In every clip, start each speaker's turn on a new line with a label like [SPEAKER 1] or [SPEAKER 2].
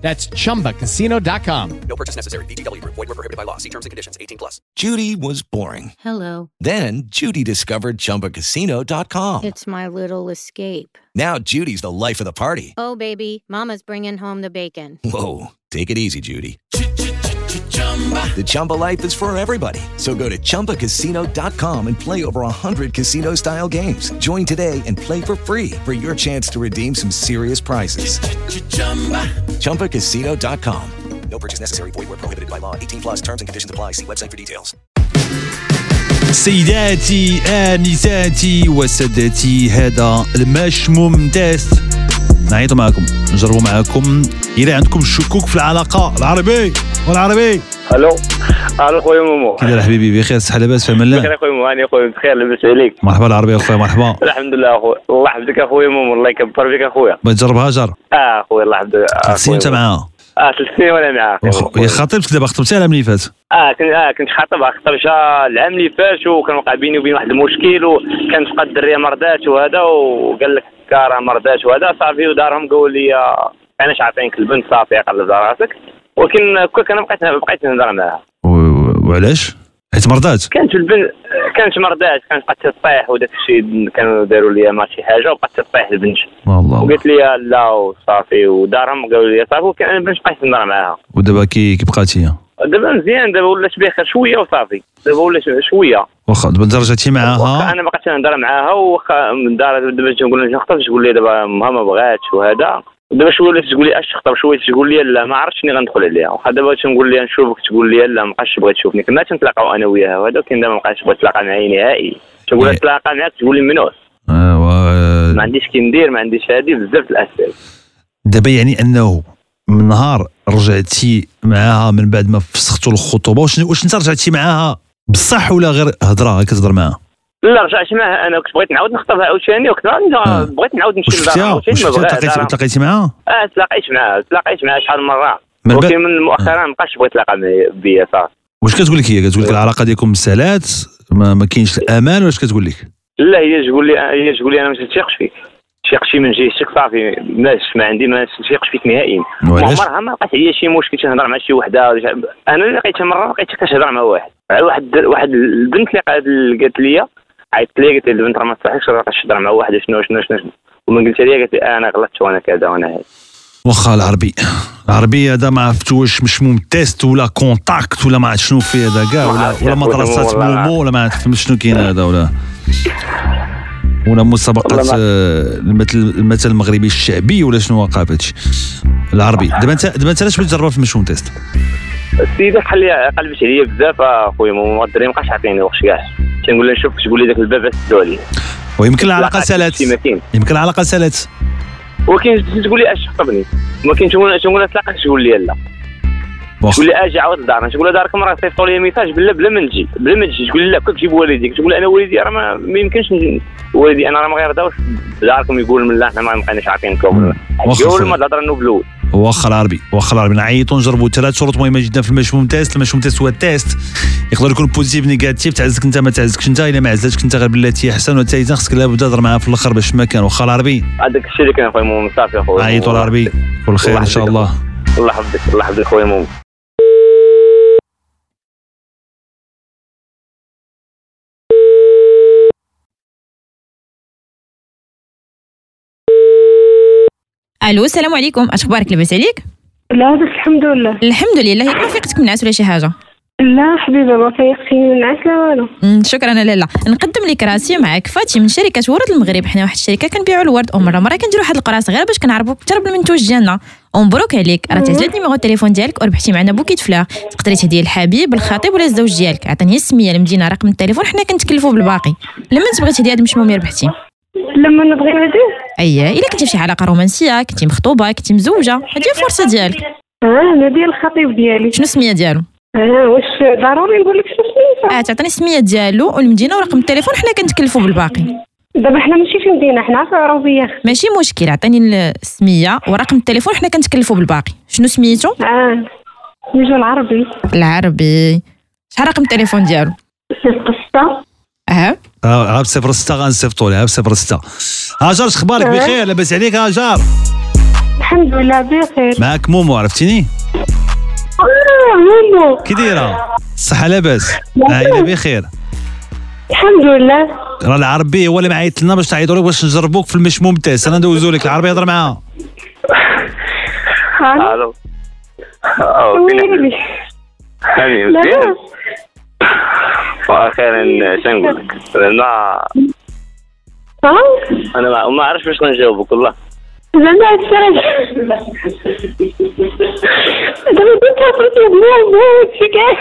[SPEAKER 1] That's chumbacasino.com.
[SPEAKER 2] No purchase necessary. VGW Group. Void were prohibited by law. See terms and conditions. 18 plus.
[SPEAKER 3] Judy was boring.
[SPEAKER 4] Hello.
[SPEAKER 3] Then Judy discovered ChumbaCasino.com.
[SPEAKER 4] It's my little escape.
[SPEAKER 3] Now Judy's the life of the party.
[SPEAKER 4] Oh, baby, Mama's bringing home the bacon.
[SPEAKER 3] Whoa, take it easy, Judy. The Chumba life is for everybody. So go to ChumbaCasino.com and play over 100 casino-style games. Join today and play for free for your chance to redeem some serious prizes. ChumbaCasino.com.
[SPEAKER 2] No purchase necessary. Void were prohibited by law. 18 plus terms and conditions apply. See website for details.
[SPEAKER 5] سيداتي آنساتي وسادتي هذا المش ممتاز نعيطوا معكم نجربوا معكم إذا عندكم شكوك في العلاقة العربي والعربي
[SPEAKER 6] الو الو خويا مومو
[SPEAKER 5] كي داير حبيبي بخير صحة لاباس في امان
[SPEAKER 6] بخير
[SPEAKER 5] الله
[SPEAKER 6] اخويا مومو هاني اخويا بخير لاباس عليك
[SPEAKER 5] مرحبا العربي اخويا مرحبا
[SPEAKER 6] الحمد لله اخويا الله يحفظك اخويا مومو الله يكبر بك اخويا
[SPEAKER 5] ما تجربها جر
[SPEAKER 6] اه اخويا الله يحفظك آه،
[SPEAKER 5] سين انت
[SPEAKER 6] أخويا.
[SPEAKER 5] معاها
[SPEAKER 6] اه ثلاث سنين وانا معاك
[SPEAKER 5] وخ- يا خطيبتك دابا خطبتيها العام اللي فات
[SPEAKER 6] اه كنت اه كنت خاطبها خطرشة العام اللي فات وكان وقع بيني وبين واحد المشكل وكانت فقد الدريه مرضات وهذا وقال لك "آه، راه مرضات وهذا صافي ودارهم قالوا لي آه، علاش عاطينك البنت صافي قلب دار راسك ولكن كنت انا بقيت بقيت نهضر معاها
[SPEAKER 5] و- وعلاش حيت مرضات
[SPEAKER 6] كانت البنت كانت مرضات كانت بقات تطيح وداك الشيء كانوا داروا لي ما شي حاجه وبقات تطيح البنت
[SPEAKER 5] والله
[SPEAKER 6] وقالت لي لا وصافي ودارهم قالوا لي صافي وكان انا البنت بقيت نهضر معاها
[SPEAKER 5] ودابا كي كي بقات هي
[SPEAKER 6] دابا مزيان دابا ولات بخير شويه وصافي دابا ولات شويه
[SPEAKER 5] واخا دابا درجتي
[SPEAKER 6] واخا
[SPEAKER 5] معاها
[SPEAKER 6] انا ما بقيتش نهضر معاها واخا من دار دابا تجي نقول لها نخطب تقول لي دابا ما ما بغاتش وهذا دابا شويه ولات تقول لي اش تخطب شويه تقول لي لا ما عرفتش ملي غندخل عليها واخا دابا تنقول لها نشوفك تقول لي لا ما بقاش تبغي تشوفني كنا تنتلاقاو انا وياها وهذا كاين دابا ما بقاش تبغي تلاقى معايا نهائي تنقول لها
[SPEAKER 5] إيه.
[SPEAKER 6] تلاقى معاك تقول لي منوس
[SPEAKER 5] ايوا
[SPEAKER 6] ما عنديش كي ندير ما عنديش هادي بزاف الاسئله
[SPEAKER 5] دابا يعني انه من نهار رجعتي معاها من بعد ما فسختوا الخطوبه واش واش انت رجعتي معاها بصح ولا غير هضره كتهضر معاها
[SPEAKER 6] لا رجعت معها انا كنت بغيت نعاود نخطبها عاوتاني وكنت
[SPEAKER 5] آه.
[SPEAKER 6] بغيت نعاود
[SPEAKER 5] واش
[SPEAKER 6] نمشي لدارها
[SPEAKER 5] شفتيها واش
[SPEAKER 6] عاوتاني ما
[SPEAKER 5] شفتيها تلاقيتي
[SPEAKER 6] بغاتش
[SPEAKER 5] تلاقيتي معاها
[SPEAKER 6] اه تلاقيت معاها تلاقيت معاها شحال من مره
[SPEAKER 5] من بعد
[SPEAKER 6] ولكن من مؤخرا ما بقاش بغيت تلاقى معايا- بيا صافي
[SPEAKER 5] واش كتقول لك هي كتقول لك العلاقه ديالكم سالات ما, ما كاينش الامان واش كتقول لك
[SPEAKER 6] لا هي تقول لي هي تقول لي انا ما تثقش فيك تثقش من جهتك صافي ما ما عندي ما تثقش فيك نهائيا
[SPEAKER 5] وعلاش
[SPEAKER 6] عمرها ما لقيت هي شي مشكل تنهضر مع شي وحده ولا شي- انا اللي لقيتها مره لقيتها كتهضر مع واحد مع واحد واحد البنت اللي قالت- اللي قالت لي عيطت لي قالت لي البنت راه ما تصحكش راه باش تهضر مع واحد شنو شنو شنو شنو ومن قلت لي قالت لي انا غلطت وانا كذا وانا هذا
[SPEAKER 5] واخا العربي العربي هذا ما عرفت واش مشموم تيست ولا كونتاكت ولا ما عرفت شنو فيه هذا كاع
[SPEAKER 6] ما
[SPEAKER 5] ولا
[SPEAKER 6] عرفت
[SPEAKER 5] ولا
[SPEAKER 6] يا خويا
[SPEAKER 5] مدرسات
[SPEAKER 6] والله.
[SPEAKER 5] مومو ولا ما عرفت شنو كاين هذا ولا ولا مسابقات
[SPEAKER 6] والله ما-
[SPEAKER 5] آه، المثل المثل المغربي الشعبي ولا شنو واقع في هادشي العربي
[SPEAKER 6] آه.
[SPEAKER 5] دابا انت دابا انت علاش بغيت تجربها في المشموم تيست
[SPEAKER 6] السيده قال لي قلبت عليا بزاف اخويا ما الدري ما بقاش عاطيني وقت كاع تنقول لها نشوفك تقول لي داك الباب سدوا عليه
[SPEAKER 5] ويمكن العلاقه
[SPEAKER 6] لقات
[SPEAKER 5] سالات
[SPEAKER 6] شي ما كاين
[SPEAKER 5] يمكن العلاقه سالات
[SPEAKER 6] ولكن تقول لي اش خطبني ولكن تقول تقول لها تلاقاك تقول لي لا
[SPEAKER 5] واخا
[SPEAKER 6] تقول لي اجي عاود لدارنا تقول لها دارك مره صيفطوا لي ميساج بلا بلا ما نجي بلا ما تجي تقول لي لا كنت جيب والديك تقول لي انا والدي راه ما ما يمكنش نجي والدي انا راه ما غيرضاوش داركم يقول من لا حنا ما بقيناش عارفينكم
[SPEAKER 5] مم. واخا
[SPEAKER 6] يقول
[SPEAKER 5] خويا.
[SPEAKER 6] ما تهضر انه بالاول
[SPEAKER 5] واخا العربي واخا العربي نعيطوا نجربوا ثلاث شروط مهمه جدا في المشموم تيست المشموم تيست هو التيست يقدر يكون بوزيتيف نيجاتيف تعزك انت ما تعزكش انت الا ما عزتك انت غير بالتي هي احسن والثالثه خصك لا بدا تهضر معاها في الاخر باش ما كان واخا العربي
[SPEAKER 6] هذاك الشيء اللي كان خويا مومن صافي خويا
[SPEAKER 5] عيطوا العربي كل خير ان شاء الله
[SPEAKER 6] الله يحفظك الله يحفظك خويا مومن
[SPEAKER 7] الو السلام عليكم اش اخبارك لاباس عليك
[SPEAKER 8] لا بس الحمد لله
[SPEAKER 7] الحمد لله ياك ما فيقتك من الناس ولا شي حاجه
[SPEAKER 8] لا حبيبي ما فيقتني من عسل والو
[SPEAKER 7] أمم، شكرا لالا نقدم لك راسي معك فاتي من شركه ورد المغرب حنا واحد الشركه كنبيعوا الورد ومره مره كنديروا واحد القراص غير باش كنعرفوا اكثر بالمنتوج ديالنا ومبروك عليك راه تهزلت النيميرو التليفون ديالك وربحتي معنا بوكيت فلور تقدري تهدي الحبيب الخطيب ولا الزوج ديالك عطيني السميه المدينه رقم التليفون حنا كنتكلفوا بالباقي لما تبغي تهدي هاد المشموم ربحتي
[SPEAKER 8] لما نبغي نهدي
[SPEAKER 7] اي الا كنتي في شي علاقه رومانسيه كنتي مخطوبه كنتي مزوجه هادي هي الفرصه ديالك
[SPEAKER 8] اه هذا ديال الخطيب ديالي
[SPEAKER 7] شنو السميه ديالو
[SPEAKER 8] اه واش ضروري نقول لك شنو
[SPEAKER 7] اه
[SPEAKER 8] السميتو
[SPEAKER 7] تعطيني السميه ديالو والمدينه ورقم التليفون حنا كنتكلفوا بالباقي
[SPEAKER 8] دابا حنا ماشي في مدينه حنا في عروبيه
[SPEAKER 7] ماشي مشكل عطيني السميه ورقم التليفون حنا كنتكلفوا بالباقي شنو سميتو
[SPEAKER 8] اه نجو العربي
[SPEAKER 7] العربي شحال رقم التليفون ديالو
[SPEAKER 8] القصه
[SPEAKER 7] اه
[SPEAKER 5] ها ها بصفر آه، ستة غنصيفطوا لها بصفر ستة هاجر شخبارك
[SPEAKER 8] أه.
[SPEAKER 5] بخير لاباس عليك هاجر
[SPEAKER 8] الحمد لله بخير
[SPEAKER 5] معك مومو عرفتيني
[SPEAKER 8] اه ماما
[SPEAKER 5] كي دايره الصحة لاباس العائلة بخير
[SPEAKER 8] الحمد لله
[SPEAKER 5] راه العربي هو اللي معيط لنا باش تعيطوا لك باش نجربوك في المشموم تاس انا ندوزو لك العربي يهضر معاها
[SPEAKER 8] آه،
[SPEAKER 6] الو أو
[SPEAKER 8] ويلي
[SPEAKER 6] سامي مزيان
[SPEAKER 8] لاباس
[SPEAKER 6] واخيرا شنقول لك زعما
[SPEAKER 8] اه
[SPEAKER 6] انا ما- ما عرفتش باش نجاوبك والله
[SPEAKER 8] زعما السرج دابا درت عفرتي بنادم هادشي كاع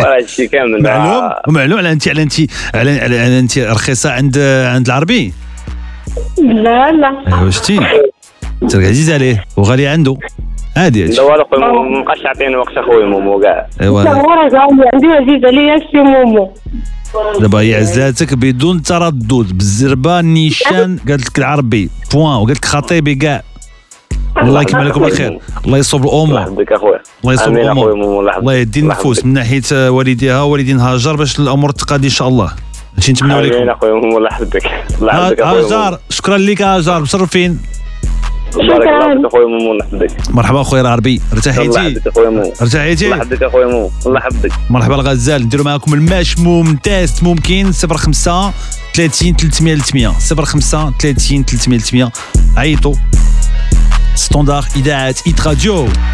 [SPEAKER 6] وراه هادشي كامل
[SPEAKER 5] معلوم ومعلوم على انت على انت على على- على انت رخيصة عند عند العربي
[SPEAKER 8] لا لا
[SPEAKER 5] ايوا شتي انت عزيز عليه وغالي عنده عادي
[SPEAKER 6] لا
[SPEAKER 5] هادشي
[SPEAKER 6] والو خويا ما ما بقاش يعطيني وقت اخويا مومو كاع
[SPEAKER 5] ايوا
[SPEAKER 8] لا
[SPEAKER 5] هذا-
[SPEAKER 8] هو راه زعما عندي عزيز عليا شي مومو
[SPEAKER 5] دابا هي عزلاتك بدون تردد بالزربه نيشان قالت لك العربي بوان وقالت لك خطيبي كاع الله يكمل لكم الخير الله يصوب
[SPEAKER 6] الله
[SPEAKER 5] الامور
[SPEAKER 6] يحفظك اخويا
[SPEAKER 5] آه. الله يصوب
[SPEAKER 6] امين اخويا
[SPEAKER 5] الامور
[SPEAKER 6] مومو الله يحفظك
[SPEAKER 5] الله يهدي النفوس من ناحيه آه، والديها والدين هاجر باش الامور تقاد ان شاء الله هادشي نتمنوا
[SPEAKER 6] يحفظك. امين
[SPEAKER 5] لكم
[SPEAKER 6] اخويا مومو الله يحفظك الله يحفظك
[SPEAKER 5] ها-
[SPEAKER 6] اخويا
[SPEAKER 5] هاجر شكرا آه، لك هاجر مشرفين
[SPEAKER 6] مومو. بارك الله
[SPEAKER 8] شكراً.
[SPEAKER 6] فيك اخويا مومو الله يحفظك
[SPEAKER 5] مرحبا اخويا العربي
[SPEAKER 6] الله
[SPEAKER 5] ارتحيتي
[SPEAKER 6] يحفظك اخويا مومو الله
[SPEAKER 5] ارتحيتي
[SPEAKER 6] يحفظك اخويا مومو الله يحفظك
[SPEAKER 5] مرحبا الغزال نديرو معاكم المشموم تيست ممكن 05 30 300 300 05 30 300 300 عيطوا ستاندار اذاعه ايت راديو